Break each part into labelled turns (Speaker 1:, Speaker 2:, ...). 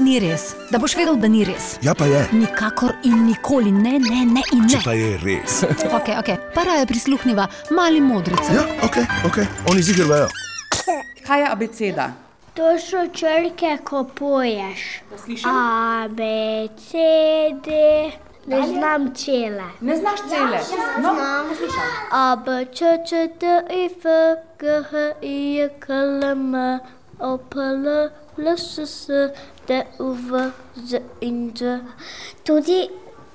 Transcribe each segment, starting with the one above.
Speaker 1: ni res, da boš vedel, da ni res.
Speaker 2: Ja, pa je.
Speaker 1: Nikakor in nikoli ne, ne, ne in
Speaker 2: Če
Speaker 1: ne.
Speaker 2: pa je res.
Speaker 1: Okay, okay. Para je prisluhnila, mali modrice.
Speaker 2: Ja, ok, ok, oni zigrajo.
Speaker 3: Kaj je abeceda?
Speaker 4: To so črke, ko poješ. A, B, C, D. Ne znam cele.
Speaker 3: Ne znaš cele. No, poslušaj.
Speaker 4: A, B, Č, Č, D, I, F, G, H, I, J, K, L, M, O, P, L, L, S, S, D, U, V, Z in D. Tudi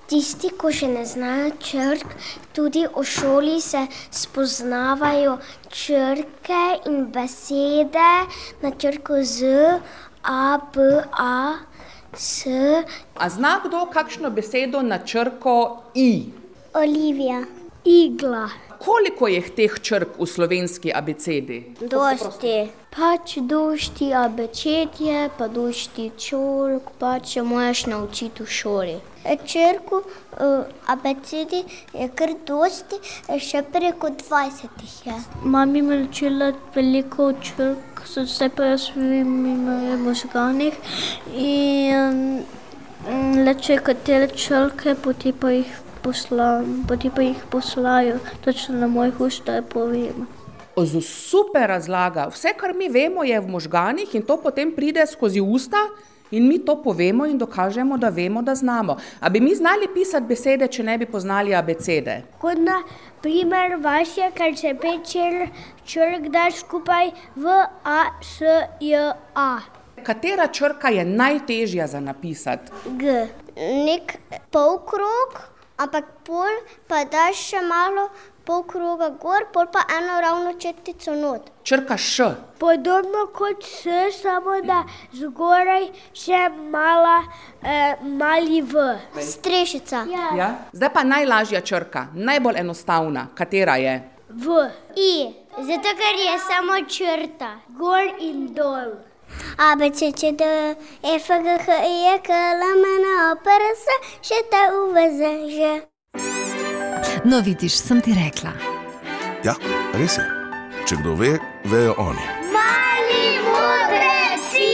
Speaker 4: tisti, ko še ne znajo črk, tudi v šoli se spoznavajo črke in besede na črko Z, A, B, A, S.
Speaker 3: A zna kdo kakšno besedo na črko i?
Speaker 4: Olivija. Igla.
Speaker 3: Koliko je teh črk v slovenski abecedi?
Speaker 4: Dosti. Pač došti abecedje, pa došti čolk, pa če moraš naučiti v šoli. E, Črko e, abecedi je kar dosti, e, še preko 20 jih je. Mami me je učila veliko črk, so vse pa jaz v mojih možganih in mm, le če katere črke, potem pa jih poslam, potem pa jih poslajo, točno na mojih usta povem.
Speaker 3: Z super razlaga. Vse, kar mi vemo, je v možganih in to potem pride skozi usta. In mi to povemo in dokažemo, da vemo, da znamo. A bi mi znali pisati besede, če ne bi poznali abecede?
Speaker 4: Kot na primer vaše, ker se pet črk, črk daš skupaj v A, S, J, A.
Speaker 3: Katera črka je najtežja za napisati?
Speaker 4: G. Nek polkrog, ampak pol pa daš še malo polkroga gor, pol pa eno ravno črtico not.
Speaker 3: Črka š.
Speaker 4: Podobno kot S, samo da zgoraj še mala, eh, mali V. Strešica. Ja.
Speaker 3: Ja? Zdaj pa najlažja črka, najbolj enostavna. Katera je?
Speaker 4: V. I. Zato, ker je samo črta, gor in dol. A, B, C, C, D, E, F, G, H, I, J, K, L, M, N, O, P, R, S, Š, T, U, V, Z, Ž.
Speaker 1: No, vidiš, sem ti rekla.
Speaker 2: Ja, res je. Če kdo ve, vejo oni.
Speaker 4: Mali modreci!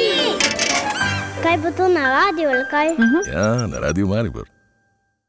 Speaker 4: Kaj E, bo to na radiju ali kaj?
Speaker 2: Ja, na radiju Maribor.